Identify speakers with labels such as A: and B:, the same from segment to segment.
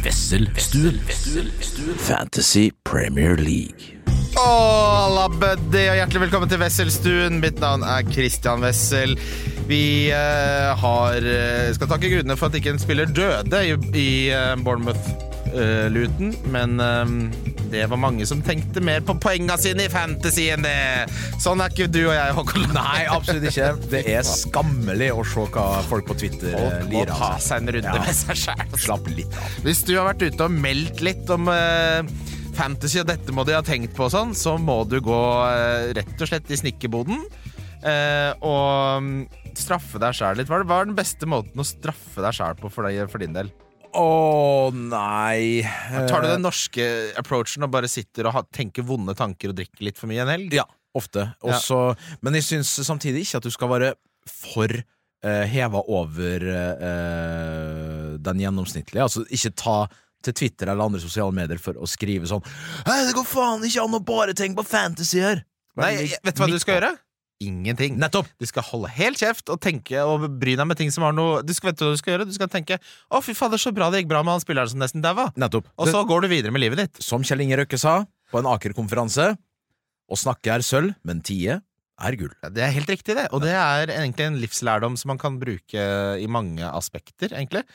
A: Vesselstuen. Fantasy Premier League.
B: Åh, labbedi, og hjertelig velkommen til Wesselstuen. Mitt navn er Christian Wessel. Vi eh, har, eh, skal takke gudene for at ikke en spiller døde i, i eh, Bournemouth-luten, men eh, det var mange som tenkte mer på poengene sine i fantasy enn det. Sånn er ikke du og jeg, Håkon.
C: Nei, absolutt ikke. Det er skammelig å se hva folk på Twitter eh,
B: Folk må
C: lirer
B: ta
C: av seg.
B: seg en runde
C: Ja.
B: med seg sjæl.
C: Slapp litt av.
B: Hvis du har vært ute og meldt litt om eh, fantasy og dette må de ha tenkt på og sånn, så må du gå eh, rett og slett i snikkeboden eh, og mm, straffe deg sjæl litt. Hva er- hva er den beste måten å straffe deg sjæl på for, deg, for din del?
C: Å nei.
B: Tar du den norske approachen og bare sitter og ha, tenker vonde tanker og drikker litt for mye en helg?
C: Eh, Ja, ofte. Også, Men jeg syns samtidig ikke at du skal være for eh, heva over eh, den gjennomsnittlige. Altså ikke ta til Twitter eller andre sosiale medier for å skrive sånn Hei, det går faen ikke an å bare tenke på fantasy her!
B: Nei, vet du hva du skal gjøre? Ingenting.
C: Nettopp!
B: Du skal holde helt kjeft og tenke og bry deg med ting som har noe Du skal, vet du hva du skal gjøre? Du skal tenke 'Å, fy fader, så bra det gikk bra med han spilleren som nesten daua'.
C: Nettopp.
B: Og så går du videre med livet ditt.
C: som Kjell Inge Røkke sa på en Aker-konferanse, å snakke er sølv, men tie er gull.
B: Ja, Det er helt riktig, det. Og det er egentlig en livslærdom som man kan bruke i mange aspekter, egentlig.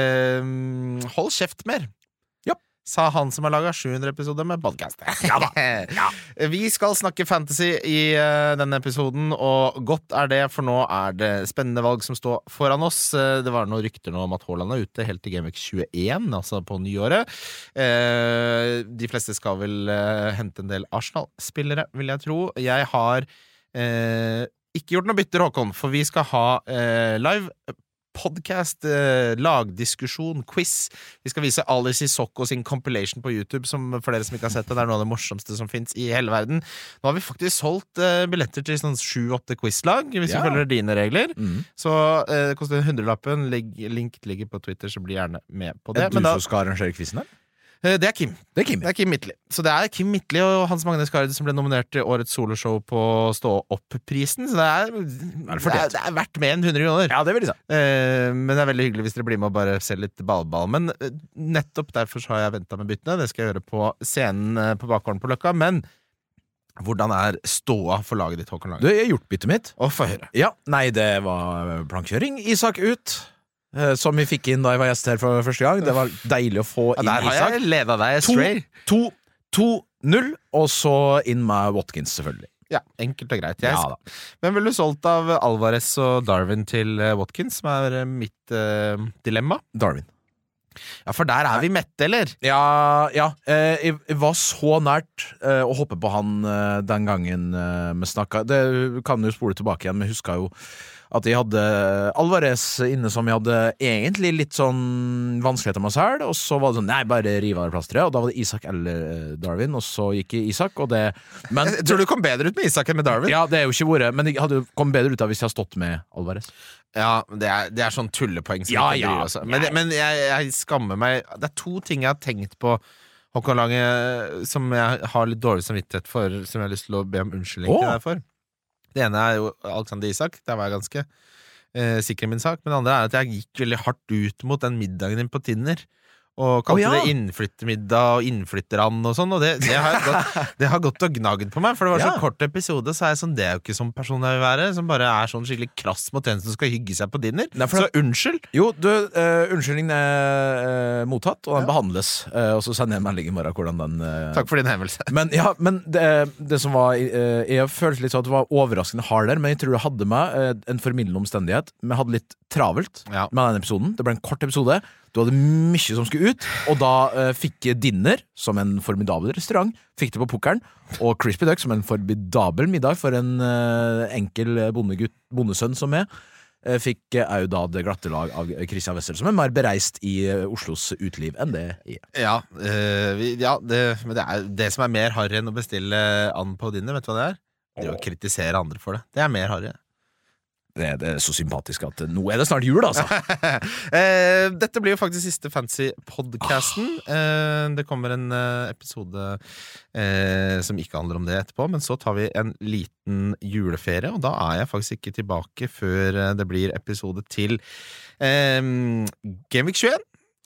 B: Ehm, hold kjeft mer.
C: Ja.
B: Sa han som har laga 700 episoder med podcast. Vi skal snakke fantasy i eh, denne episoden, og godt er det, for nå er det spennende valg som står foran oss. Eh, Det var noen rykter nå om at Haaland er ute helt til Gameweek 21, altså på nyåret. Eh, De fleste skal vel eh, hente en del Arsenal-spillere, vil jeg tro. Jeg har eh, ikke gjort noe bytter, Håkon, for vi skal ha eh, live podkast, eh, lagdiskusjon, quiz. Vi skal vise Ali Sissoko sin compilation på YouTube, som for dere som ikke har sett det, det er noe av det morsomste som fins i hele verden. Nå har vi faktisk solgt eh, billetter til sånn sju-åtte quizlag, hvis
C: Ja.
B: vi følger dine regler.
C: Mm.
B: Så eh, det koster hundrelappen. Legg, link ligger på Twitter, så bli gjerne med på det.
C: Er det du
B: Men da,
C: som skal arrangere quizen her?
B: eh, det er Kim.
C: Det er Kim.
B: Det er Kim Midtly. Så det er Kim Midtly og Hans Magne Skard som ble nominert til årets soloshow på Stå opp-prisen. Så det er,
C: det
B: det,
C: fortjent?
B: er, det er verdt mer enn 100 kroner.
C: Ja, det vil jeg si.
B: Eh, men det er veldig hyggelig hvis dere blir med og bare ser litt ballball. Men eh, nettopp derfor så har jeg venta med byttene. Det skal jeg gjøre på scenen eh, på bakgården på Løkka. Men hvordan er ståa for laget ditt, Håkon
C: Du,
B: Lange?
C: jeg har gjort byttet mitt.
B: Å, få høre.
C: Ja, nei, det var eh, plankekjøring. Isak ut. eh, Som vi fikk inn da jeg var gjest her for første gang. Det var deilig å få
B: Ja,
C: inn
B: der har
C: Isak.
B: jeg leda deg
C: To.
B: astray.
C: 2-0, og så inn med Watkins, selvfølgelig.
B: Ja, enkelt og greit. Jeg
C: Ja, da.
B: Hvem ville du solgt av Alvarez og Darwin til eh, Watkins, som er eh, mitt eh, dilemma?
C: Darwin.
B: Ja, for der er vi mette, eller?
C: Ja, ja. eh, Jeg jeg var så nært eh, å hoppe på han eh, den gangen eh, vi snakka. Det vi kan jo spole tilbake igjen, men jeg huska jo at jeg hadde Alvarez inne som jeg hadde egentlig litt sånn vanskeligheter med selv, og så var det sånn Nei, bare riv av det plasteret. Og da var det Isak eller eh, Darwin, og så gikk jeg Isak, og det Men
B: Jeg Eh, tror du kom bedre ut med Isak enn med Darwin.
C: ja, det er jo ikke vært Men jeg hadde jo kommet bedre ut av hvis jeg hadde stått med Alvarez.
B: Ja, det er, det er sånn tullepoeng. som
C: Ja,
B: ikke
C: ja.
B: bryr oss. Men, det- men jeg, jeg skammer meg. Det er to ting jeg har tenkt på, Håkon Lange, som jeg har litt dårlig samvittighet for, som jeg har lyst til å be om unnskyldning til
C: Åh.
B: deg for. Det ene er jo Alexander Isak. Der var jeg ganske eh, sikker i min sak. Men det andre er at jeg gikk veldig hardt ut mot den middagen din på Tinder. Og
C: Å,
B: kalte
C: ja.
B: det innflyttermiddag og innflytterand og sånn. Og det, det, har gått, det har gått og gnagd på meg, for det var
C: Ja.
B: så kort episode. Så er jeg sånn, det er jo ikke sånn person jeg vil være. Som bare er sånn skikkelig krass mot en som skal hygge seg på dinner.
C: Nei, for
B: så unnskyld.
C: Jo, du, eh, unnskyldningen er eh, mottatt, og den behandles. Eh, og så sender jeg en melding i morgen hvordan den eh,
B: Takk for din hemmelse.
C: Men, ja, men det, det som var eh, Jeg følte litt sånn at det var overraskende hard der, men jeg tror det hadde meg eh, en formildende omstendighet. Men jeg hadde litt travelt
B: Ja.
C: med den episoden. Det ble en kort episode. Du hadde mye som skulle ut, og da eh, fikk jeg dinner, som en formidabel restaurant, fikk det på pukkelen, og Crispy Duck, som en formidabel middag for en eh, enkel bondegutt, bondesønn som meg. eh, Fikk eh, au da det glatte lag av Christian Wessel, som er mer bereist i eh, Oslos uteliv enn det jeg er.
B: Ja, eh, vi- ja det, men det, er, det som er mer harry enn å bestille and på dinner, vet du hva det er? Det å kritisere andre for det. Det er mer harry.
C: Det, det er så sympatisk at eh, nå er det snart jul, altså!
B: Eh, Dette blir jo faktisk siste Fancy-podkasten. Eh, Det kommer en eh, episode eh, som ikke handler om det etterpå, men så tar vi en liten juleferie, og da er jeg faktisk ikke tilbake før eh, det blir episode til eh, Gameweek 21.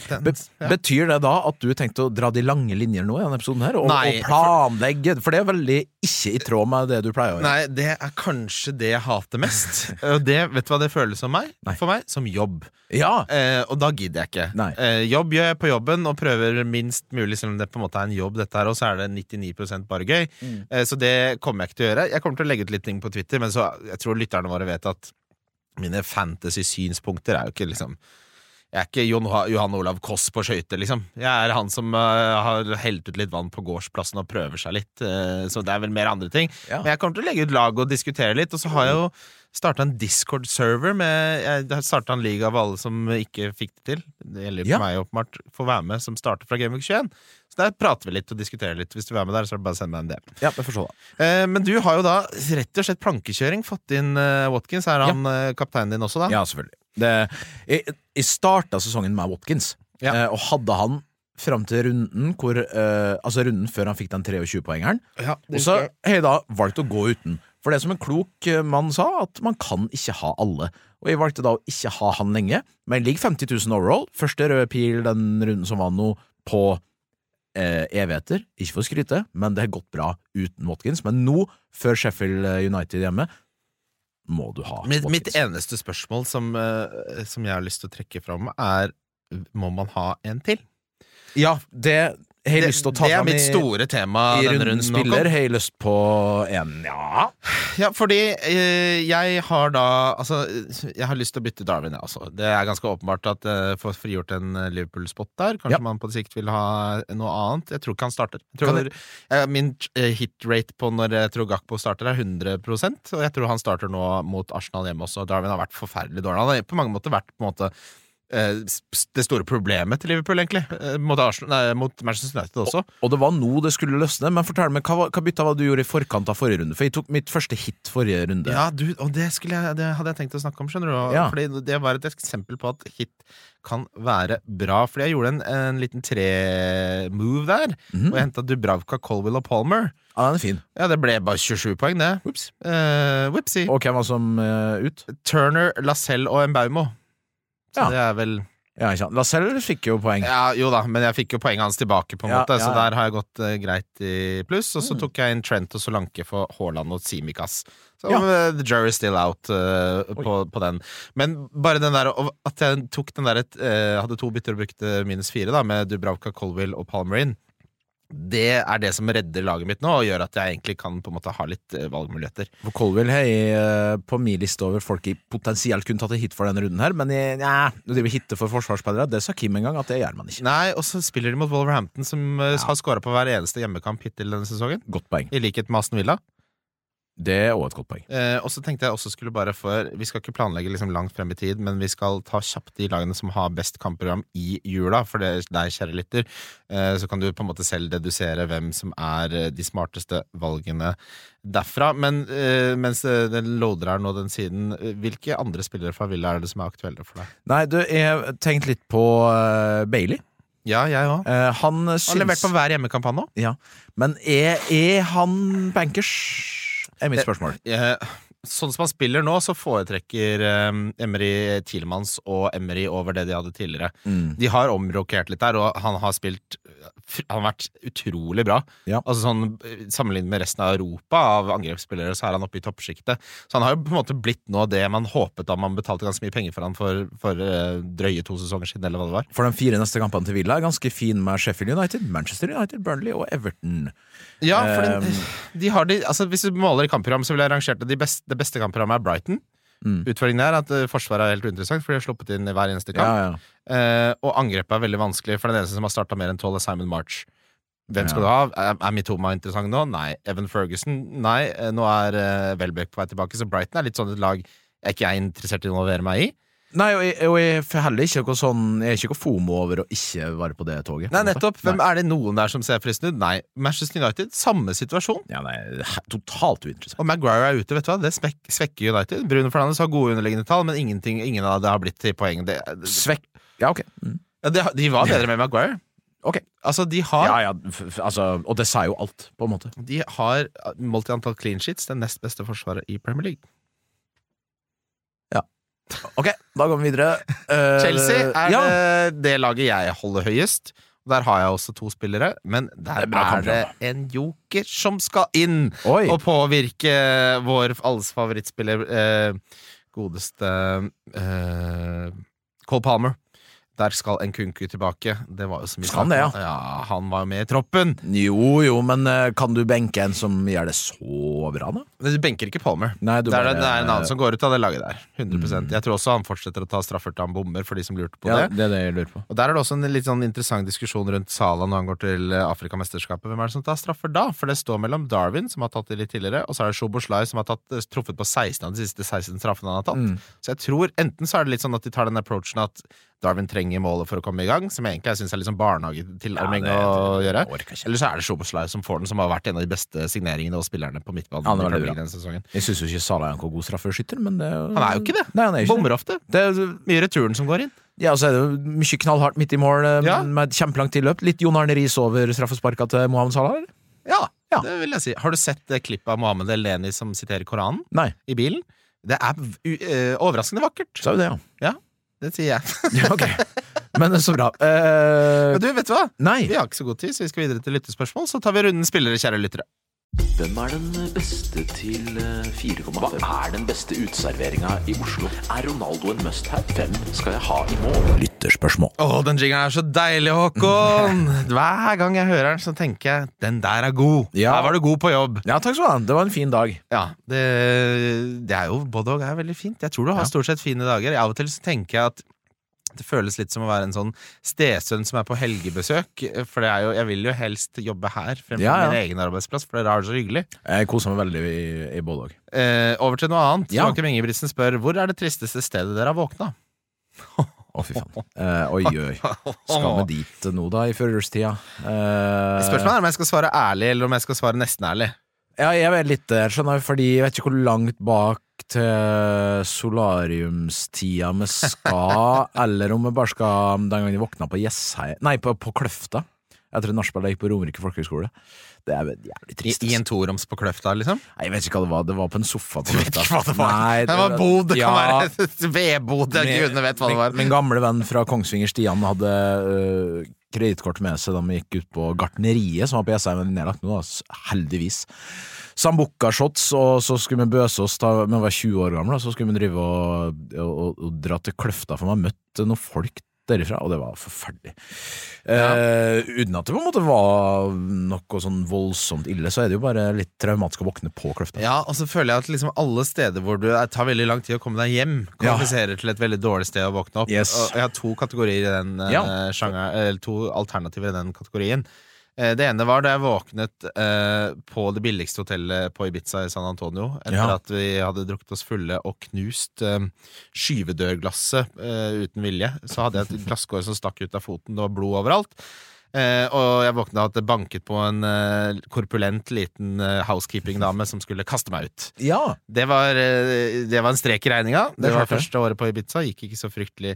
B: Den-
C: Be Betyr det da at du tenkte å dra de lange linjer nå i denne episoden her, og,
B: Nei,
C: og planlegge? For det er veldig ikke i tråd med det du pleier å gjøre.
B: Nei, det er kanskje det jeg hater mest. Og det, vet du hva det føles som meg?
C: Nei.
B: for meg? Som jobb.
C: Ja,
B: Eh, og da gidder jeg ikke.
C: Nei.
B: Eh, jobb gjør jeg på jobben og prøver minst mulig, selv om det på en måte er en jobb, dette her, og så er det 99 bare gøy.
C: Mm.
B: Eh, så det kommer jeg ikke til å gjøre. Jeg kommer til å legge ut litt ting på Twitter, men så, jeg tror lytterne våre vet at mine fantasy-synspunkter er jo ikke liksom jeg er ikke Jon, Johan Olav Koss på skøyter, liksom. Jeg er han som eh, har helt ut litt vann på gårdsplassen og prøver seg litt. eh, så det er vel mer andre ting.
C: Ja.
B: Men jeg kommer til å legge ut lag og diskutere litt. Og så har jeg jo starta en Discord-server. med- Jeg har starta en liga av alle som ikke fikk det til. Det gjelder jo
C: Ja.
B: for meg, åpenbart. Får være med, som starter fra Gameweek 21. Så der prater vi litt og diskuterer litt. Hvis du vil være med der, så er det bare å sende meg en DM.
C: ja jeg forstår det.
B: Eh, men du har jo da rett og slett plankekjøring fått inn eh, Watkins. Er han eh, kapteinen din også, da?
C: Ja, selvfølgelig. Det, jeg jeg starta sesongen med Watkins,
B: Ja.
C: eh, og hadde han fram til runden hvor eh, Altså runden før han fikk den 23-poengeren. Og så har jeg da valgt å gå uten. For det som en klok eh, mann sa, at man kan ikke ha alle. Og jeg valgte da å ikke ha han lenge, men ligger 50 000 overall. Første røde pil den runden som var nå, på eh, evigheter. Ikke for å skryte, men det har gått bra uten Watkins. Men nå, før Sheffield eh, United hjemme, må du ha
B: Mitt, mitt
C: Watkins.
B: eneste spørsmål som, eh, som jeg har lyst til å trekke fram, er må man ha en til?
C: Ja, det har jeg lyst til å ta
B: det er
C: fram i,
B: mitt store tema
C: i
B: denne
C: runden
B: nå, Kom.
C: spiller. Har jeg lyst på en, ja.
B: Ja, fordi eh, jeg har da Altså, jeg har lyst til å bytte Darwin, jeg også. Det er ganske åpenbart at eh, få frigjort en eh, Liverpool-spot der.
C: Ja.
B: Kanskje man på sikt vil ha eh, noe annet. Jeg tror ikke han starter. Jeg
C: Kan
B: tror, eh, min eh, hit-rate på når jeg tror Gakpo starter, er 100 og jeg tror han starter nå mot Arsenal hjemme også. Darwin har vært forferdelig dårlig. Han har på mange måter vært på en måte eh, s- det store problemet til Liverpool, egentlig. Eh, Mot, Arsenal, nei, mot Manchester United også.
C: Og det var nå det skulle løsne, men fortell meg, hva, var- hva bytta var du gjorde i forkant av forrige runde? For jeg tok mitt første hit forrige runde.
B: Ja, du, og det, skulle jeg, det hadde jeg tenkt å snakke om, skjønner du. og-
C: Ja.
B: Fordi det var et eksempel på at hit kan være bra. Fordi jeg gjorde en, en liten tre-move der,
C: Mhm.
B: og jeg henta Dubravka, Colwill og Palmer.
C: Ja, den er fin.
B: Ja, det ble bare 27 poeng, det.
C: Ups.
B: Uh, Whoopsie.
C: Og hvem var som eh, ut?
B: Turner, Lacelle og Embaumo. Så
C: Ja.
B: det er vel
C: Ja, ikke sant. Lacelle fikk jo poeng.
B: Ja, jo da, men jeg fikk jo poenget hans tilbake, på en
C: Ja,
B: måte,
C: ja, ja.
B: så
C: Mm.
B: der har jeg gått eh, greit i pluss. Og så tok jeg inn Trent og Solanke for Haaland og Simikas. Så
C: Ja.
B: eh, the jury's still out eh, på, på den. Men bare den der og at jeg tok den der, eh, hadde to bytter og brukte minus fire, da, med Dubravka, Colwill og Palmerin. Det er det som redder laget mitt nå, og gjør at jeg egentlig kan på en måte ha litt eh, valgmuligheter.
C: For Colville har jeg eh, på min liste over folk jeg potensielt kunne tatt en hit for denne runden her, men jeg, nei, når de vil hitte for forsvarsspillere, det sa Kim en gang at det gjør man ikke.
B: Nei, og så spiller de mot Wolverhampton, som eh, har scora på hver eneste hjemmekamp hittil denne sesongen.
C: Godt poeng.
B: I likhet med Aston Villa.
C: Det er også et godt poeng.
B: Eh, og så tenkte jeg også skulle bare for Vi skal ikke planlegge liksom langt frem i tid, men vi skal ta kjapt de lagene som har best kampprogram i jula. For det deg, kjære lytter, eh, så kan du på en måte selv dedusere hvem som er eh, de smarteste valgene derfra. Men eh, mens eh, den loader her nå den siden, eh, hvilke andre spillere fra Villa er det som er aktuelle for deg?
C: Nei, du, jeg har tenkt litt på eh, Bailey.
B: Ja, jeg òg.
C: Eh, han
B: Har levert
C: syns
B: på hver hjemmekamp, han òg.
C: Ja. Men er, er han bankers? Er mitt
B: Det-
C: spørsmål.
B: Eh, Sånn som han spiller nå, så foretrekker eh, Emery Tielmanns og Emery over det de hadde tidligere.
C: Mm.
B: De har omrokert litt der, og han har spilt Han har vært utrolig bra.
C: Ja.
B: Altså sånn, Sammenlignet med resten av Europa av angrepsspillere, så er han oppe i toppsjiktet. Så han har jo på en måte blitt nå det man håpet da man betalte ganske mye penger for han for, for eh, drøye to sesonger siden, eller hva det var.
C: For de fire neste kampene til Villa er ganske fin med Sheffield United, Manchester United, Burnley og Everton.
B: Ja, for
C: for
B: de,
C: den-
B: har de altså Hvis du måler i kampprogram, så ville jeg rangert det de best, Det beste kampprogrammet er Brighton.
C: Mm.
B: Utfordringen er at eh, forsvaret er helt uinteressant, for de har sluppet inn i hver eneste kamp.
C: Ja, ja.
B: Eh, og angrepet er veldig vanskelig, for den eneste som har starta mer enn tolv, er Simon March. Hvem skal du ha? Er, er Mitoma interessant nå? Nei. Evan Ferguson? Nei. Eh, Nå er uh, Welbeck på vei tilbake, så Brighton er litt sånn et lag jeg ikke er interessert i å involvere meg i.
C: Nei, og jeg, og jeg får heller ikke noe sånn Jeg er ikke noe fomo over å ikke være på det toget. på
B: Nei,
C: en måte.
B: nettopp. Hvem er det noen der som ser fristende ut? Nei. Manchester United, samme situasjon.
C: Ja, nei, det er Totalt uinteressant.
B: Og Maguire er ute, vet du hva. Det svek svekker United. Bruno Fernandes har gode underliggende tall, men ingenting, ingen av det har blitt til poeng. Det, det,
C: Svekk Ja, ok. Mm.
B: ja, det, de var bedre med Maguire.
C: Ok.
B: Altså, de har
C: Ja, ja, f, f, altså, og det sa jo alt, på en måte.
B: De har målt i antall clean sheets det nest beste forsvaret i Premier League.
C: Ja. Ok, da går vi videre. Eh,
B: Chelsea er
C: ja.
B: det, det laget jeg holder høyest. Der har jeg også to spillere, men der
C: er bra
B: er,
C: kampprogram.
B: det en joker som skal inn
C: Oi.
B: og påvirke vår alles favorittspiller, eh, godeste eh, Cole Palmer. Der skal en kunku tilbake. Det var jo så mye
C: Skal han det,
B: snakk om- ja, han var jo med i troppen.
C: Jo, jo, men eh, kan du benke en som gjør det så bra, da?
B: Men Du benker ikke Palmer.
C: Nei, du
B: det, er,
C: bare-
B: det er en annen som går ut av det laget der. 100% Jeg tror også han fortsetter å ta straffer til han bommer, for de som lurte på
C: Ja,
B: det.
C: det er det jeg lurer på.
B: Og Der er det også en litt sånn interessant diskusjon rundt Sala når han går til eh, Afrikamesterskapet. Hvem er det som tar straffer da? For det står mellom Darwin, som har tatt det litt tidligere, og så er det Shoboslai, som har tatt, eh, truffet på 16 av de siste 16 straffene han har tatt.
C: Mm.
B: Så jeg tror enten så er det litt sånn at de tar den approachen at Darwin trenger målet for å komme i gang, som jeg egentlig syns er litt sånn barnehagetilnærming
C: Ja, det-
B: å gjøre.
C: jeg orker ikke.
B: Eller så er det Shoboslai som får den, som har vært en av de beste signeringene og spillerne på midtbanen.
C: Ja, det
B: i
C: var det bra.
B: Premier League denne sesongen.
C: Jeg syns jo ikke Salah er en god straffeskytter, men det er jo
B: Han er jo ikke det.
C: Nei, han er ikke
B: Bommer ofte.
C: det.
B: Altså,
C: det er,
B: Mye returen som går inn.
C: ja, så er det jo mye knallhardt midt i mål eh,
B: Ja.
C: med et kjempelangt tilløp. Litt Jon Arne Riis over straffesparka til Mohammed Salah, eller?
B: Ja,
C: Ja.
B: det vil jeg si. Har du sett det klippet av Mohammed Eleni som siterer Koranen?
C: Nei,
B: i bilen. Det er u eh, overraskende vakkert.
C: så er jo det, ja.
B: Det sier jeg.
C: ja ok. Men så bra. Eh,
B: Men du, vet du hva?
C: nei.
B: Vi har ikke så god tid, så vi skal videre til lyttespørsmål. Så tar vi runden spillere, kjære lyttere.
A: Hvem er den beste til eh, 4,5? Hva er den beste uteserveringa i Oslo? Er Ronaldo en must-have? Hvem skal jeg ha i mål? Lytterspørsmål.
B: Å, den jingeren er så deilig, Håkon! Hver gang jeg hører den, så tenker jeg den der er god.
C: Ja.
B: Her var du god på jobb.
C: Ja, takk skal du ha. Det var en fin dag.
B: Ja, det, det er jo både og er veldig fint. Jeg tror du har
C: Ja.
B: stort sett fine dager. Av og til så tenker jeg at det føles litt som å være en sånn stesønn som er på helgebesøk. For det er jo, jeg vil jo helst jobbe her fremfor
C: Ja, ja.
B: min egen arbeidsplass, for dere har det så hyggelig.
C: Jeg koser meg veldig i, i både og.
B: Eh, over til noe annet.
C: Ja.
B: Joakim Ingebrigtsen spør hvor er det tristeste stedet dere har våkna.
C: Å, fy faen. Eh, oi, oi. Skal vi dit nå, da, i førjulstida? Eh,
B: Spørsmålet er om jeg skal svare ærlig eller om jeg skal svare nesten ærlig.
C: Ja, jeg vet litt der, skjønner du, fordi jeg vet ikke hvor langt bak til solariumstida vi skal, eller om vi bare skal den gangen jeg våkna på Jessheim Nei, på, på Kløfta. Etter et nachspiel jeg gikk på Romerike folkehøgskole. Det er vel jævlig
B: I,
C: trist.
B: I
C: altså.
B: en toroms på Kløfta, liksom?
C: Nei, jeg vet ikke hva det var. Det var på en sofa på Kløfta. Nei,
B: Nei, det var bod, det
C: ja,
B: kan være et vedbod. det er Gudene vet hva det var.
C: Min, min gamle venn fra Kongsvinger, Stian, hadde øh, kredittkort med seg da vi gikk ut på Gartneriet, som var på Jessheim, men nedlagt nå, da, s- heldigvis. Sambuca-shots, og så skulle vi bøse oss da vi var 20 år gamle, og så skulle vi drive og, og, og, og dra til Kløfta, for vi har møtt noen folk derifra, og det var forferdelig. Eh, uten at det på en måte var noe sånn voldsomt ille, så er det jo bare litt traumatisk å våkne på Kløfta.
B: Ja, og så føler jeg at liksom alle steder hvor du det tar veldig lang tid å komme deg hjem,
C: Ja.
B: kvalifiserer til et veldig dårlig sted å våkne opp.
C: Yes.
B: Og jeg har to kategorier i den eh,
C: Ja.
B: sjanger, eller to alternativer i den kategorien. Eh, Det ene var da jeg våknet eh, på det billigste hotellet på Ibiza i San Antonio. Etter
C: Ja.
B: at vi hadde drukket oss fulle og knust eh, skyvedørglasset eh, uten vilje. Så hadde jeg et glasskår som stakk ut av foten, det var blod overalt. Eh, og jeg våkna av at det banket på en eh, korpulent liten eh, housekeeping-dame som skulle kaste meg ut.
C: Ja,
B: Det var, eh, det var en strek i regninga.
C: Det
B: Det, var
C: klarte jeg.
B: første året på Ibiza. Gikk ikke så fryktelig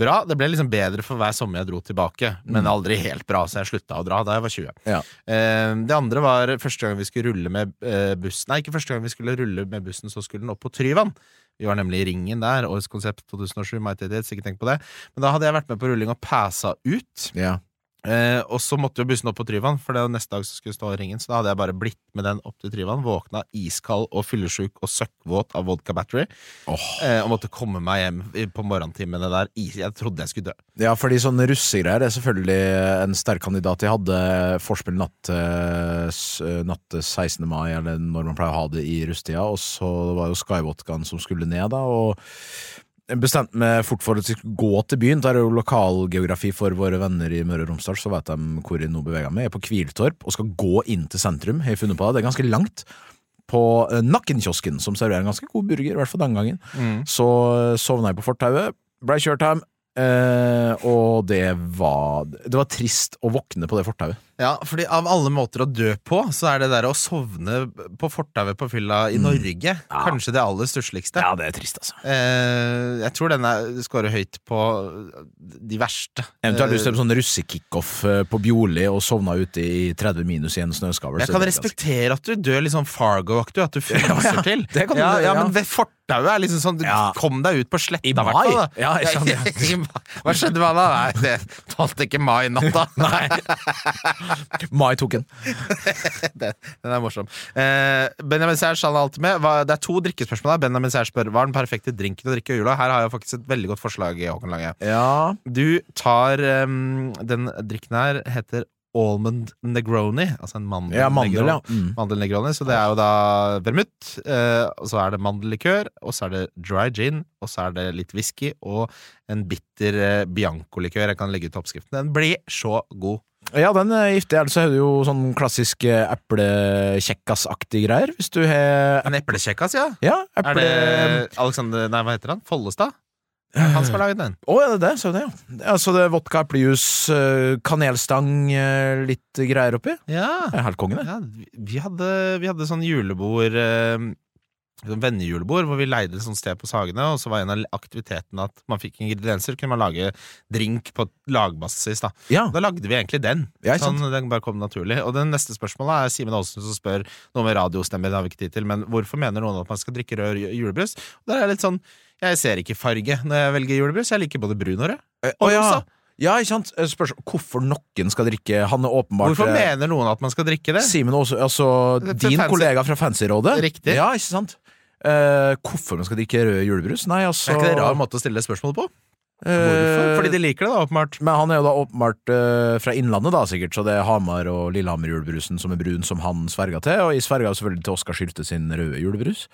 B: bra. Det ble liksom bedre for hver sommer jeg dro tilbake, men aldri helt bra, så jeg slutta å dra da jeg var 20.
C: Mm. Ja.
B: Eh, det andre var første gang vi skulle rulle med eh, bussen Nei, ikke første gang vi skulle rulle med bussen, så skulle den opp på Tryvann. Vi var nemlig i Ringen der, årets konsept 2007, Mighty Dates, ikke tenk på det. Men da hadde jeg vært med på rulling og passa ut.
C: ja.
B: Eh, og så måtte jo bussen opp på Tryvann, for det var neste dag så skulle jeg stå i ringen. Så da hadde jeg bare blitt med den opp til Tryvann, våkna iskald og fyllesyk og søkkvåt av vodka battery,
C: Åh.
B: eh, og måtte komme meg hjem i- på morgentimene der. Is jeg trodde jeg skulle dø.
C: Ja, fordi sånne russegreier er selvfølgelig en sterk kandidat. Jeg hadde forspill natt til s- eh, natt til 16. mai, eller når man pleier å ha det i russetida, og så var det jo Skyvodkaen som skulle ned, da, og jeg bestemte meg fort for å gå til byen. Der er jo lokalgeografi for våre venner i Møre og Romsdal, så vet de hvor jeg nå beveger meg. Jeg er på Kviltorp og skal gå inn til sentrum, har jeg funnet på det. Det er ganske langt. På eh, Nakkenkiosken, som serverer en ganske god burger, i hvert fall den gangen. Så eh, sovna jeg på fortauet, blei kjørt hjem. Eh, og det var Det var trist å våkne på det fortauet.
B: Ja, fordi av alle måter å dø på, så er det der å sovne på fortauet på fylla i Norge kanskje det aller stussligste.
C: Ja, det er trist, altså.
B: Eh, jeg tror denne scorer høyt på de verste.
C: Eventuelt hvis du er på sånn russekickoff eh, på Bjorli og sovna ute i 30 minus i en snøskavl.
B: Men Jeg
C: så
B: kan
C: er det ganske-
B: respektere at du dør litt sånn Fargo-aktig, at du fryser til.
C: det kan du
B: ja,
C: gjøre, ja.
B: ja, men ved fortauet er liksom sånn du
C: Ja.
B: Kom deg ut på sletta,
C: I
B: i hvert
C: mai?
B: fall. da.
C: Ja, jeg skjønner.
B: I mai. Hva skjedde med han da? Nei, det tålte ikke mai-natta. Nei,
C: Mai tok en.
B: det, Den er morsom. Eh, Benjamin Særs han er alltid med. Hva, det er to drikkespørsmål her. Benjamin Særs spør hva er den perfekte drinken å drikke i jula. Her har jeg faktisk et veldig godt forslag. Håkon Lange
C: Ja.
B: Du tar em, Den drikken her heter Almond Negroni. Altså en mandel.
C: ja mandel, ja.
B: Negroni.
C: Mm.
B: Mandel Negroni, så det er jo da vermouth, eh, og så er det mandellikør, og så er det dry gin, og så er det litt whisky og en bitter eh, biancolikør. Jeg kan legge ut oppskriften. Den blir så god.
C: Ja, den er giftig. Ellers så er det jo sånn klassisk eh, eplekjekkas-aktig greier. Hvis du har
B: En eplekjekkas, ja.
C: Ja,
B: Er
C: eple...
B: det Alexander Nei, hva heter han? Follestad? Han som har laget den.
C: Å, er det det? Så er det, ja. ja så det er vodka, eplejus, eh, kanelstang, eh, litt greier oppi.
B: Ja.
C: Det er helt konge, det.
B: ja vi- vi, hadde, vi hadde sånn julebord eh, sånn Vennejulebord, hvor vi leide et sånt sted på Sagene. Og så var en av aktivitetene at man fikk ingredienser, kunne man lage drink på lagbasis. da
C: Ja.
B: Da lagde vi egentlig den.
C: Ja, ikke
B: sånn, den bare kom naturlig. Og det neste spørsmålet er Simen Aalsen som spør noe med radiostemmer. Det har vi ikke tid til, men hvorfor mener noen at man skal drikke rød ju- julebrus? Og der er jeg litt sånn Jeg ser ikke farge når jeg velger julebrus. Jeg liker både brun og rød.
C: Eh, Å ja.
B: Også.
C: Ja, ikke sant? Eh, Spørsmål hvorfor noen skal drikke Han er åpenbart
B: Hvorfor
C: eh,
B: mener noen at man skal drikke det?
C: Simen også, altså
B: Det er fra
C: din
B: Fancy-
C: kollega fra Fancyrådet.
B: Riktig.
C: Ja, ikke sant? Eh, hvorfor man skal drikke rød julebrus? Nei, altså
B: Er ikke det en rar måte å stille det spørsmålet på? Hvorfor?
C: eh,
B: Fordi de liker det, da, åpenbart.
C: Men han er jo da åpenbart eh, fra Innlandet, da, sikkert, så det er Hamar og Lillehammer-julebrusen som er brun, som han sverga til. Og jeg sverga jo selvfølgelig til Oskar Sylte sin røde julebrus.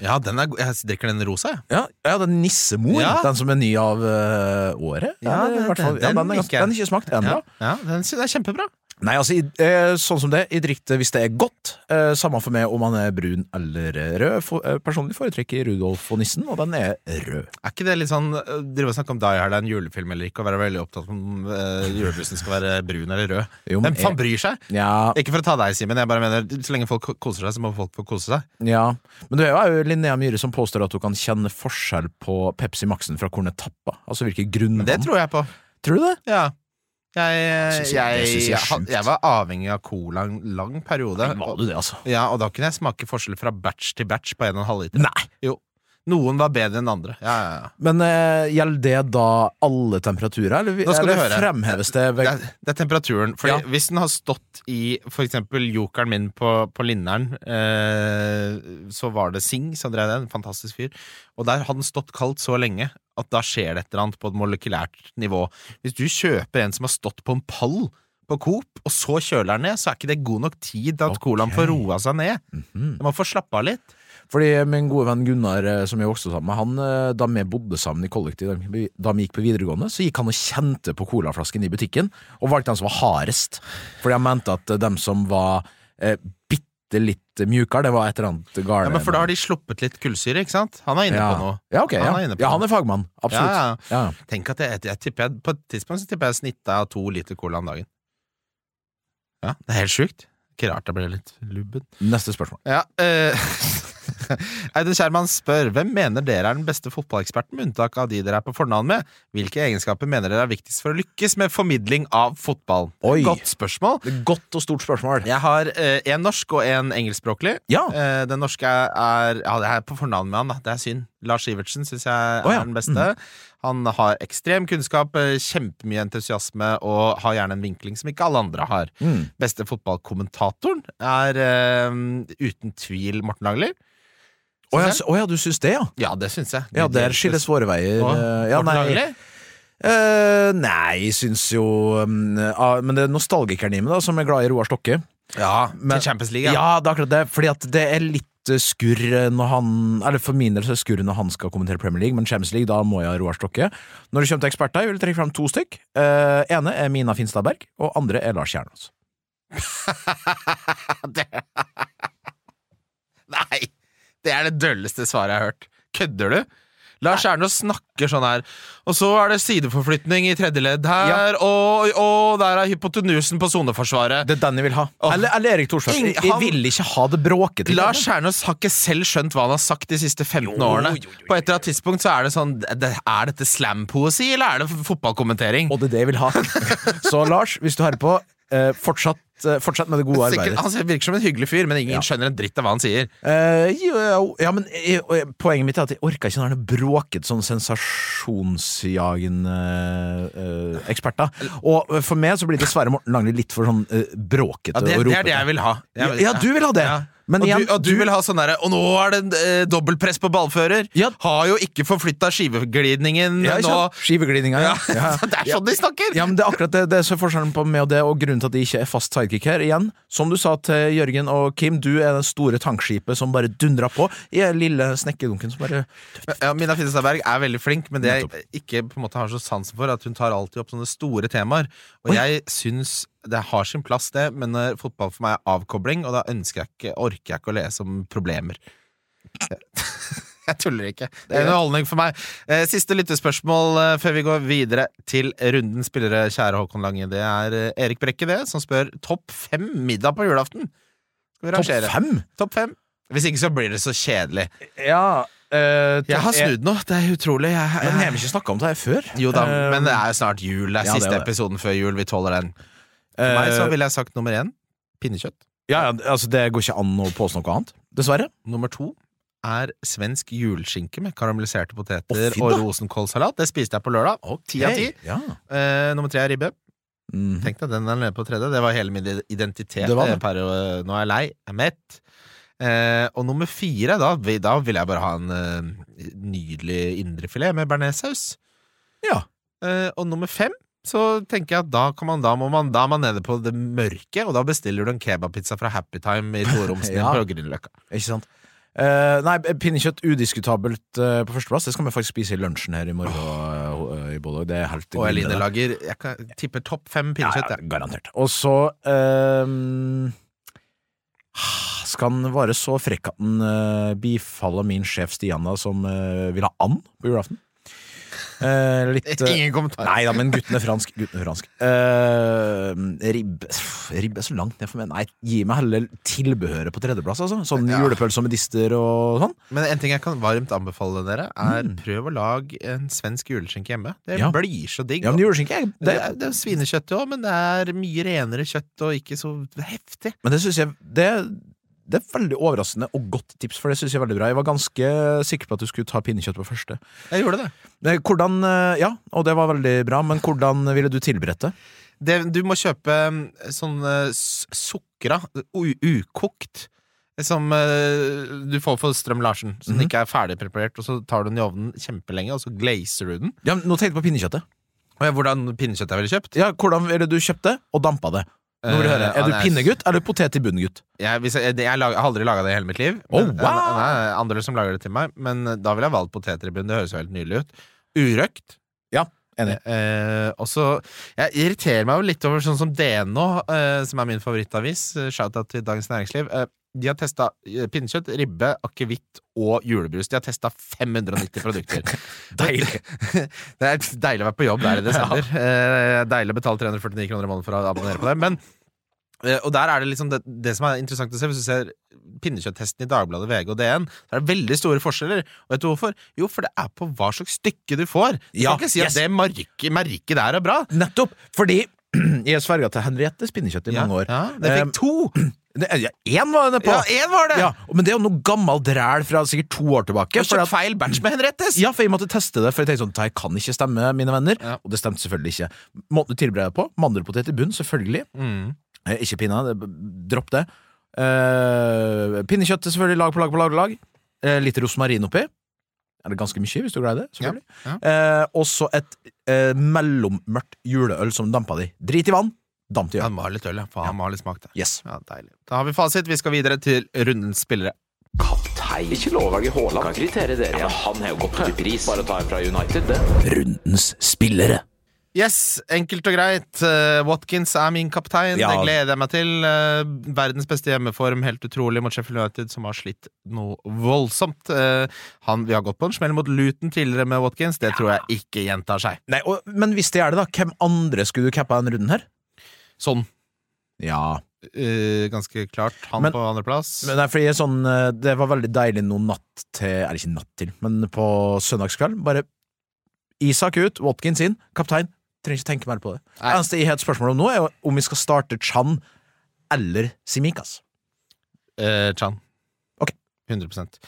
B: Ja, den er, go- jeg drikker den rosa, jeg.
C: Ja, ja den nissemor,
B: Ja.
C: den som er ny av eh, året.
B: Ja,
C: Eller i
B: den-
C: hvert fall-
B: den-
C: ja,
B: den
C: den, er
B: liker
C: ganske,
B: jeg.
C: den er ikke smakt ennå.
B: Ja, ja den synes jeg er kjempebra.
C: Nei, altså, i- eh, sånn som det, jeg drikker det hvis det er godt. Eh, samme for meg om han er brun eller rød. For, eh, personlig foretrekker jeg Rudolf og nissen, og den er rød.
B: Er ikke det litt sånn øh, Drive og snakke om Die Hard er en julefilm eller ikke, og være veldig opptatt om øh, julebrusen skal være brun eller rød?
C: Jo, men
B: Hvem faen bryr seg?
C: Ja,
B: Ikke for å ta deg, Simen. Jeg bare mener, Så lenge folk koser seg, så må folk få kose seg.
C: ja. Men du er jo Linnea Myhre som påstår at hun kan kjenne forskjell på Pepsi Maxen fra Cornetappa. Altså hvilke grunner
B: Men det tror jeg på.
C: Tror du det?
B: Ja. Jeg,
C: synes jeg- det
B: jeg, jeg,
C: synes jeg er sjukt.
B: jeg var avhengig av cola en lang periode.
C: Var du det, altså?
B: Ja, Og da kunne jeg smake forskjell fra batch til batch på 1,5 liter.
C: Nei.
B: Jo. Noen var bedre enn andre. Ja, ja, ja.
C: Men eh, gjelder det da alle temperaturer, eller,
B: Nå skal du
C: eller
B: høre.
C: fremheves det
B: Det
C: ved
B: er, det er temperaturen. Fordi
C: Ja.
B: Hvis den har stått i for eksempel jokeren min på, på Lindern, eh, så var det Sing som drev den. Fantastisk fyr. Og der har den stått kaldt så lenge at da skjer det et eller annet på et molekylært nivå. Hvis du kjøper en som har stått på en pall på Coop, og så kjøler den ned, så er ikke det god nok tid til at
C: Ok.
B: colaen får roa seg ned.
C: Mhm.
B: Man får slappe av litt.
C: Fordi min gode venn Gunnar, eh, som jeg vokste sammen med, han, eh, da vi bodde sammen i kollektiv, da vi- da vi gikk på videregående, så gikk han og kjente på colaflasken i butikken, og valgte den som var hardest. Fordi han mente at eh, dem som var eh, bitte litt mjukere, det var et eller annet
B: Ja,
C: garn.
B: men For da har de sluppet litt kullsyre, ikke sant? Han er inne
C: ja.
B: på noe.
C: Ja, ok, ja.
B: Han er inne på
C: ja,
B: noe.
C: han er fagmann. Absolutt.
B: Ja, ja.
C: Ja.
B: Tenk at jeg, jeg tipper jeg, På et tidspunkt så tipper jeg snittet av to liter cola om dagen. Ja, det er helt sjukt. Ikke rart jeg ble litt lubben.
C: Neste spørsmål.
B: Ja, eh, Audun Kjerman spør hvem mener dere er den beste fotballeksperten, med unntak av de dere er på fornavn med. Hvilke egenskaper mener dere er viktigst for å lykkes med formidling av fotball?
C: Oi.
B: Godt spørsmål.
C: Det er godt og stort spørsmål.
B: Jeg har én norsk og én engelskspråklig.
C: Ja.
B: Eh, den norske er, er Ja, det er på fornavn med han, da. Det er synd. Lars Ivertsen syns jeg
C: Å, ja. Mm.
B: er den beste. Han har ekstrem kunnskap, eh, kjempemye entusiasme og har gjerne en vinkling som ikke alle andre har.
C: Mm.
B: Beste fotballkommentatoren er eh, uten tvil Morten Langler.
C: Å ja,
B: jeg.
C: s- å ja, du syns det, ja?
B: Ja, det syns jeg.
C: Ja, der skilles våre veier.
B: Å,
C: eh, Ja,
B: Morten
C: nei,
B: Langli?
C: Eh, nei, jeg syns jo um, ah, Men det er nostalgikeren i meg da, som er glad i Roar Stokke.
B: Ja,
C: men-
B: til Champions
C: Ja,
B: League. Ja.
C: det er akkurat det. Fordi at det er litt eh, skurr når han Eller for min del så er det skurr når han skal kommentere Premier League, men Champions League, da må jeg ha Roar Stokke. Når det kommer til eksperter, jeg vil trekke fram to stykk. Eh, ene er Mina Finstad Berg, og andre er Lars Kjernås.
B: det. Nei! Det er det dølleste svaret jeg har hørt. Kødder du? Lars Kjernås snakker sånn her. Og så er det sideforflytning i tredje ledd her, og, og der er hypotenusen på soneforsvaret.
C: Det er den jeg vil ha. Eller, eller Erik Thorstvedt.
B: Ing-
C: Jeg,
B: han-
C: jeg vil ikke ha det bråkete.
B: Lars Kjernås har ikke selv skjønt hva han har sagt de siste 15 årene. På et eller annet tidspunkt så er det sånn det- Er dette slampoesi, eller er det f- fotballkommentering?
C: Og det er det jeg vil ha. Så Lars, hvis du hører på, eh, fortsatt, eh, fortsett med det gode
B: Sikkert,
C: arbeidet.
B: han ser- virker som en hyggelig fyr, men ingen skjønner en dritt av hva han sier.
C: Eh, jo, jo, ja, men jeg, og jeg- Poenget mitt er at jeg orker ikke når det er bråket sånn sensasjonsjagende eh, eksperter. Og eh, for meg så blir dessverre Morten Langli litt for sånn eh, bråkete
B: Ja, det,
C: og
B: det er det
C: ropete.
B: jeg vil ha. Jeg,
C: Ja, ja, du vil ha det. Men
B: og,
C: igjen,
B: du, og du
C: du-
B: vil ha sånn derre Og nå er det eh, dobbeltpress på ballfører!
C: Ja.
B: Har jo ikke forflytta skiveglidningen
C: Ja, ikke
B: nå!
C: sant? Skiveglidninga,
B: Ja.
C: ja. ja.
B: det er sånn de snakker!
C: Ja, men Det er akkurat det, det er så forskjellen på meg og det, og grunnen til at jeg ikke er fast sidekick her. Igjen, som du sa til Jørgen og Kim, du er det store tankskipet som bare dundrer på. Jeg er lille snekkedunken som bare
B: Ja, Mina Finnestad Berg er veldig flink, men det jeg ikke på en måte har så sansen for, er at hun tar alltid opp sånne store temaer. Og jeg syns det har sin plass, det, men eh, fotball for meg er avkobling, og da ønsker jeg ikke, orker jeg ikke å lese om problemer. Jeg tuller ikke. Det er en underholdning for meg. Eh, Siste lyttespørsmål eh, før vi går videre til runden spillere, kjære Håkon Lange. Det er eh, Erik Brekke, det, som spør topp fem middag på julaften. Skal vi
C: Topp
B: rangere?
C: fem?
B: Topp fem. Hvis ikke så blir det så kjedelig.
C: Ja
B: Jeg har
C: snudd.
B: snudd nå. Det er utrolig. Jeg,
C: Men
B: jeg,
C: har vi ikke snakka om det her før?
B: jo da,
C: Eh,
B: men det er jo snart jul. Det
C: ja, det
B: er
C: er
B: siste
C: det.
B: episoden før jul. Vi tåler den. For
C: eh,
B: meg så ville jeg sagt nummer én pinnekjøtt.
C: ja, ja, altså Det går ikke an å påstå noe annet, dessverre.
B: Nummer to er svensk juleskinke med
C: Å,
B: karamelliserte poteter
C: fint,
B: og
C: da.
B: rosenkålsalat. Det spiste jeg på lørdag. Ti av ti.
C: Hey, Ja.
B: Eh, nummer tre er ribbe.
C: Mhm.
B: Tenk deg, den er nede på tredje. Det var hele min identitet.
C: Det var det.
B: eh, Per, eh, nå er jeg lei. Jeg er mett. Eh, og nummer fire, da, vi- da vil jeg bare ha en eh, nydelig indrefilet med bearnéssaus.
C: Ja.
B: Eh, og nummer fem, så tenker jeg at da, kan man, da, må man, da er man nede på det mørke, og da bestiller du en kebabpizza fra Happy Time i Toromsen
C: Ja.
B: på Grünerløkka.
C: Ikke sant? Eh, nei, pinnekjøtt udiskutabelt eh, på førsteplass. Det skal vi faktisk spise i lunsjen her i morgen. eh, i Bodø. Det er helt
B: Og Eline
C: glimrende.
B: lager Jeg kan, tipper topp fem pinnekjøtt.
C: Ja,
B: jeg.
C: ja, garantert. Og så ehm, skal han være så frekk at han eh, bifaller min sjef Stian, da, som eh, vil ha and på julaften? Eh, litt eh,
B: Ingen kommentar.
C: Nei da, men gutten er fransk. Gutten er fransk. Eh, ribbe pff, Ribbe er så langt ned for meg. Nei, gi meg heller tilbehøret på tredjeplass, altså. Sånn
B: Ja.
C: julepølse og medister og sånn.
B: Men en ting jeg kan varmt anbefale dere, er prøv å lage en svensk juleskinke hjemme. Det
C: Mm. Ja.
B: blir så digg.
C: Ja, men juleskinke er
B: Det er, det er svinekjøtt òg, men det er mye renere kjøtt og ikke så heftig.
C: Men det synes jeg det, det er veldig overraskende og godt tips, for det synes jeg er veldig bra. Jeg var ganske sikker på at du skulle ta pinnekjøtt på første.
B: Jeg gjorde det.
C: Eh, Hvordan, eh, ja, og det var veldig bra, men hvordan ville du tilberette?
B: det du må kjøpe mm, sånn eh, s- sukra, u ukokt, som eh, du får for Strøm Larsen. Som
C: Mhm.
B: ikke er ferdig preparert. Og så tar du den i ovnen kjempelenge, og så glazer du den.
C: Ja, men nå tenkte jeg på pinnekjøttet.
B: Og jeg- hvordan pinnekjøtt jeg ville kjøpt?
C: Ja, hvordan ville du kjøpt det, og dampa det? Nå vil jeg høre,
B: Eh, ja,
C: Er du
B: nei,
C: pinnegutt eller potet i bunngutt?
B: Jeg, hvis jeg, jeg, lag- jeg har aldri laga det i hele mitt liv.
C: Oh,
B: Men-
C: wow!
B: eh, nei, nei, andre som lager det til meg. Men eh, da ville jeg valgt potetribun. Det høres jo helt nydelig ut. Urøkt.
C: Ja, enig.
B: Eh, og så Jeg irriterer meg jo litt over sånn som DNO, eh, som er min favorittavis. eh, Shout-out til Dagens Næringsliv. Eh, de har testa eh, pinnekjøtt, ribbe, akevitt og julebrus. De har testa 590 produkter.
C: Deilig.
B: Det er deilig å være på jobb der i desember. Eh, Deilig å betale 349 kroner i måneden for å abonnere på det. Men, eh, og der er det liksom det, det som er interessant å se, hvis du ser pinnekjøttesten i Dagbladet, VG og DN, så er det veldig store forskjeller. Og vet du hvorfor? Jo, for det er på hva slags stykke du får. Du
C: Ja,
B: kan ikke si at
C: yes.
B: det merket, merket der er bra.
C: Nettopp! Fordi jeg sverga til Henriettes pinnekjøtt i
B: Ja,
C: mange år.
B: Ja, det
C: Eh,
B: fikk to!
C: Det, ja, én var det på!
B: Ja, én var det!
C: Ja, men det er jo noe gammelt ræl fra sikkert to år tilbake.
B: Jeg har
C: fordi at-
B: kjøpt feil batch med Henrettes!
C: Ja, for jeg måtte teste det, for jeg tenkte sånn, det her kan ikke stemme, mine venner.
B: Ja.
C: Og det stemte selvfølgelig ikke. Måten du tilbereder det på, mandelpotet i bunn, selvfølgelig.
B: Mm.
C: Eh, ikke pinna, det, dropp det. Eh, pinnekjøttet selvfølgelig, lag på lag på lag på lag. Eh, litt rosmarin oppi. Eller ganske mye, hvis du er glad i det. selvfølgelig.
B: Ja,
C: Eh, og så et eh, mellommørkt juleøl som dampa di. Drit i vann, damp i øl.
B: Han må ha litt øl, ja. Faen, han må ha litt smak, det.
C: Yes.
B: Ja, deilig. Da har vi fasit. Vi skal videre til rundens spillere.
A: Kaptein. Ikke lovvalget Haaland. Kan kritere dere. Ja, men han har jo gått opp i pris. Bare å ta en fra United, det.
C: Rundens spillere.
B: Yes, enkelt og greit. Eh, Watkins er min kaptein.
C: Ja.
B: Det gleder jeg meg til. Eh, Verdens beste hjemmeform, helt utrolig, mot Sheffield United, som har slitt noe voldsomt. Eh, Han, vi har gått på en smell mot Luton tidligere med Watkins. Det tror jeg ikke gjentar seg.
C: Nei, og, men hvis det er det, da, hvem andre skulle du cappa den runden her?
B: Sånn
C: Ja
B: eh, ganske klart. Han
C: Men-
B: på andreplass.
C: men nei, fordi sånn, eh, Det var veldig deilig noen natt til Eller ikke natt til, men på søndagskveld. Bare Isak ut, Watkins inn, kaptein. Trenger ikke tenke mer på det. Det
B: Nei.
C: eneste jeg har et spørsmål om nå, er jo om vi skal starte Chan eller Simikas.
B: Eh, Chan.
C: Ok.
B: 100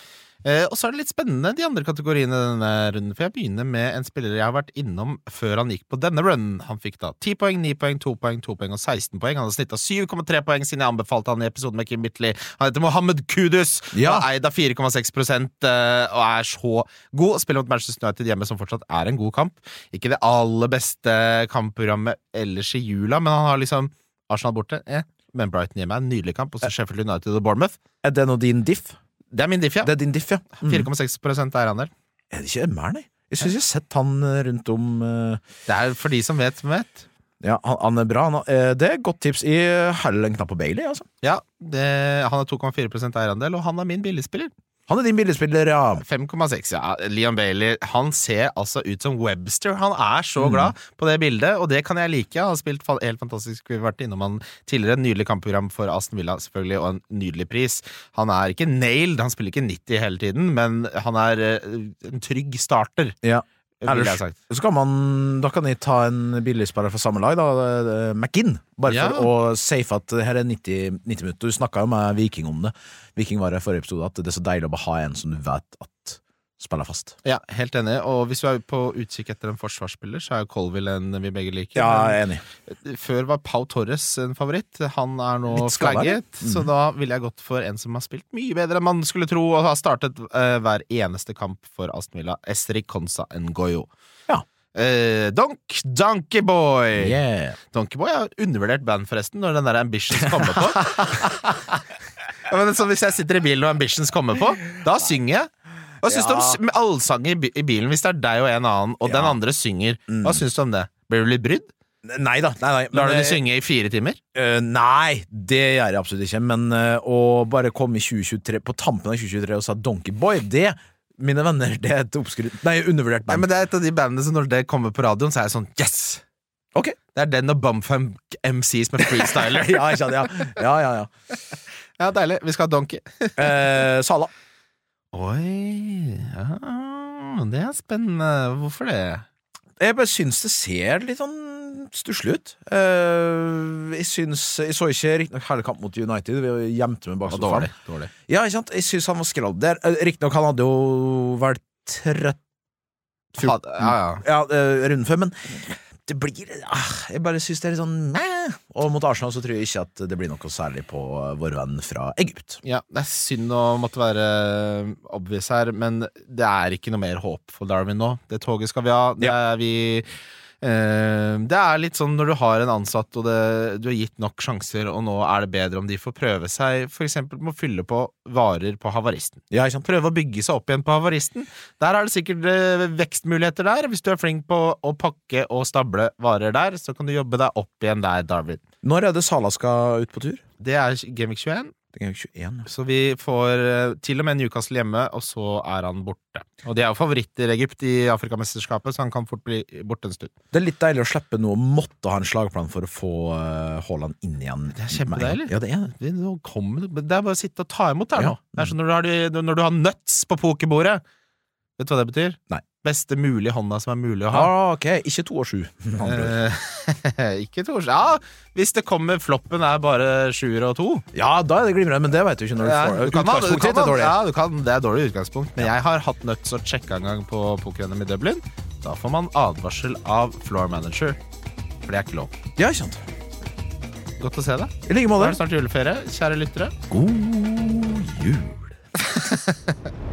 B: eh, Og så er det litt spennende de andre kategoriene i denne runden, for jeg begynner med en spiller jeg har vært innom før han gikk på denne runden. Han fikk da 10 poeng, 9 poeng, 2 poeng, 2 poeng og 16 poeng. Han har snitta 7,3 poeng siden jeg anbefalte han i episoden med Kim Bitley. Han heter Mohammed Kudus
C: Ja.
B: og er eid av 4,6 eh, og er så god. Spiller mot Manchester United hjemme, som fortsatt er en god kamp. Ikke det aller beste kampprogrammet ellers i jula, men han har liksom Arsenal borte. Eh. Men Brighton hjemme er en nydelig kamp, og
C: Eh.
B: så Sheffield United og Bournemouth.
C: Er det nå din diff?
B: Det er min diff, ja.
C: Det er din diff, ja. Mm.
B: 4,6 eierandel.
C: Er det ikke mer, nei? Jeg syns jeg har sett han eh, rundt om eh,
B: Det er for de som vet, som vet.
C: Ja, han, han er bra. Han, har- eh, det er et godt tips. Jeg heller en knapp på Bailey, altså.
B: Ja, det, han har 2,4 eierandel, og han er min billigspiller.
C: Han er din billedspiller, ja.
B: 5,6, ja. Leon Bailey han ser altså ut som Webster. Han er så glad på det bildet, og det kan jeg like. Han har spilt fa- helt fantastisk. Vi har vært innom han tidligere. Nydelig kampprogram for Aston Villa, selvfølgelig, og en nydelig pris. Han er ikke nailed, han spiller ikke 90 hele tiden, men han er eh, en trygg starter,
C: ja.
B: ville
C: Ellers-
B: jeg sagt.
C: Så kan man, da kan jeg ta en billigspiller fra samme lag, da. eh, McGinn. Bare
B: Ja.
C: for å safe at det her er 90, 90 minutter. Du snakka jo med Viking om det. Viking var her i forrige episode at det er så deilig å bare ha en som du vet at spiller fast.
B: Ja, helt enig. Og hvis du er på utkikk etter en forsvarsspiller, så er jo Colville en vi begge liker.
C: jeg er enig.
B: Men Før var Pau Torres en favoritt. Han er nå
C: Litt skadet, eller? Mm.
B: flagget, så da ville jeg gått for en som har spilt mye bedre enn man skulle tro, og har startet eh, hver eneste kamp for Aston Villa. Estrid Consa Ngoyo.
C: Ja.
B: Eh, donk, Donkeyboy!
C: Yeah.
B: Donkeyboy er et undervurdert band, forresten, når den der Ambitions kommer på. ja, men sånn, hvis jeg sitter i bilen og Ambitions kommer på, da synger jeg. Hva syns
C: Ja.
B: du om s- allsang i, bi- i bilen hvis det er deg og en annen, og den
C: Ja. Mm.
B: andre synger? Hva syns du om det? Blir du litt brydd?
C: Nei da. Nei, nei.
B: Lar du
C: men,
B: det synge i fire timer?
C: eh, nei, det gjør jeg absolutt ikke. Men eh, å bare komme i 2023, på tampen av 2023 og sa Donkeyboy, det, mine venner, det er et oppskrytt Nei, undervurdert
B: Nei,
C: band.
B: men Det er et av de bandene som når det kommer på radioen, så er jeg sånn yes!
C: Ok.
B: Det er den og Bumfunk MCs med freestyler.
C: ja, ikke sant, ja. ja, ja, ja.
B: ja, Deilig. Vi skal ha Donkey.
C: Eh, Sala.
B: Oi ja, Det er spennende. Hvorfor det?
C: Jeg bare syns det ser litt sånn stusslig ut. Eh, jeg syns Jeg så ikke riktignok hele kampen mot United. Vi gjemte meg bak
B: Ja,
C: sofaen.
B: dårlig.
C: Ja, ikke sant? Jeg syns han var skrald der. Eh, Riktignok, han hadde jo vært 13
B: Ha, ja, ja.
C: ja, eh, runden før, men det blir ah, Jeg bare syns det er litt sånn meh. Og mot Arsenal så tror jeg ikke at det blir noe særlig på eh, vår venn fra Egypt.
B: Ja, det er synd å måtte være obvious her, men det er ikke noe mer håp for Darwin nå. Det toget skal vi ha. Det er vi eh, det er litt sånn når du har en ansatt og det, du har gitt nok sjanser, og nå er det bedre om de får prøve seg f.eks. med å fylle på varer på havaristen.
C: Ja, ikke sant?
B: Prøve å bygge seg opp igjen på havaristen. Der er det sikkert eh, vekstmuligheter der. Hvis du er flink på å pakke og stable varer der, så kan du jobbe deg opp igjen der, Darwin.
C: Når er det Sala skal ut på tur?
B: Det er Gamvik 21.
C: Det er jo 21, ja.
B: Så vi får eh, til og med Newcastle hjemme, og så er han borte. Og de er jo favoritter i Egypt i Afrikamesterskapet, så han kan fort bli borte en stund.
C: Det er litt deilig å slippe noe og måtte ha en slagplan for å få eh, Haaland inn igjen.
B: Det er kjempedeilig.
C: Ja, det er det.
B: Det nå kom- det er bare å sitte og ta imot der
C: Ja.
B: nå. Det er som når du har, de- når du har nuts på pokerbordet. Vet du hva det betyr?
C: Nei.
B: Beste mulige hånda som er mulig å ha.
C: Ah, ok, ikke to og sju. med andre ord.
B: Eh, ikke to Ja, hvis det kommer floppen er bare sjuer og to.
C: Ja, da er det glimrende, men det vet du ikke når du
B: Eh. Ja,
C: får
B: du kan ha- du
C: utgangspunktet
B: kan
C: ditt er
B: ha-
C: dårlig.
B: ja, du kan- Det er dårlig utgangspunkt, men jeg har hatt nuts og sjekka en gang på poker-NM i Dublin. Da får man advarsel av floor manager, for det er ikke lov.
C: Ja, ikke sant.
B: Godt å se deg.
C: I like
B: Da er
C: måte.
B: det snart juleferie, kjære lyttere.
C: God jul.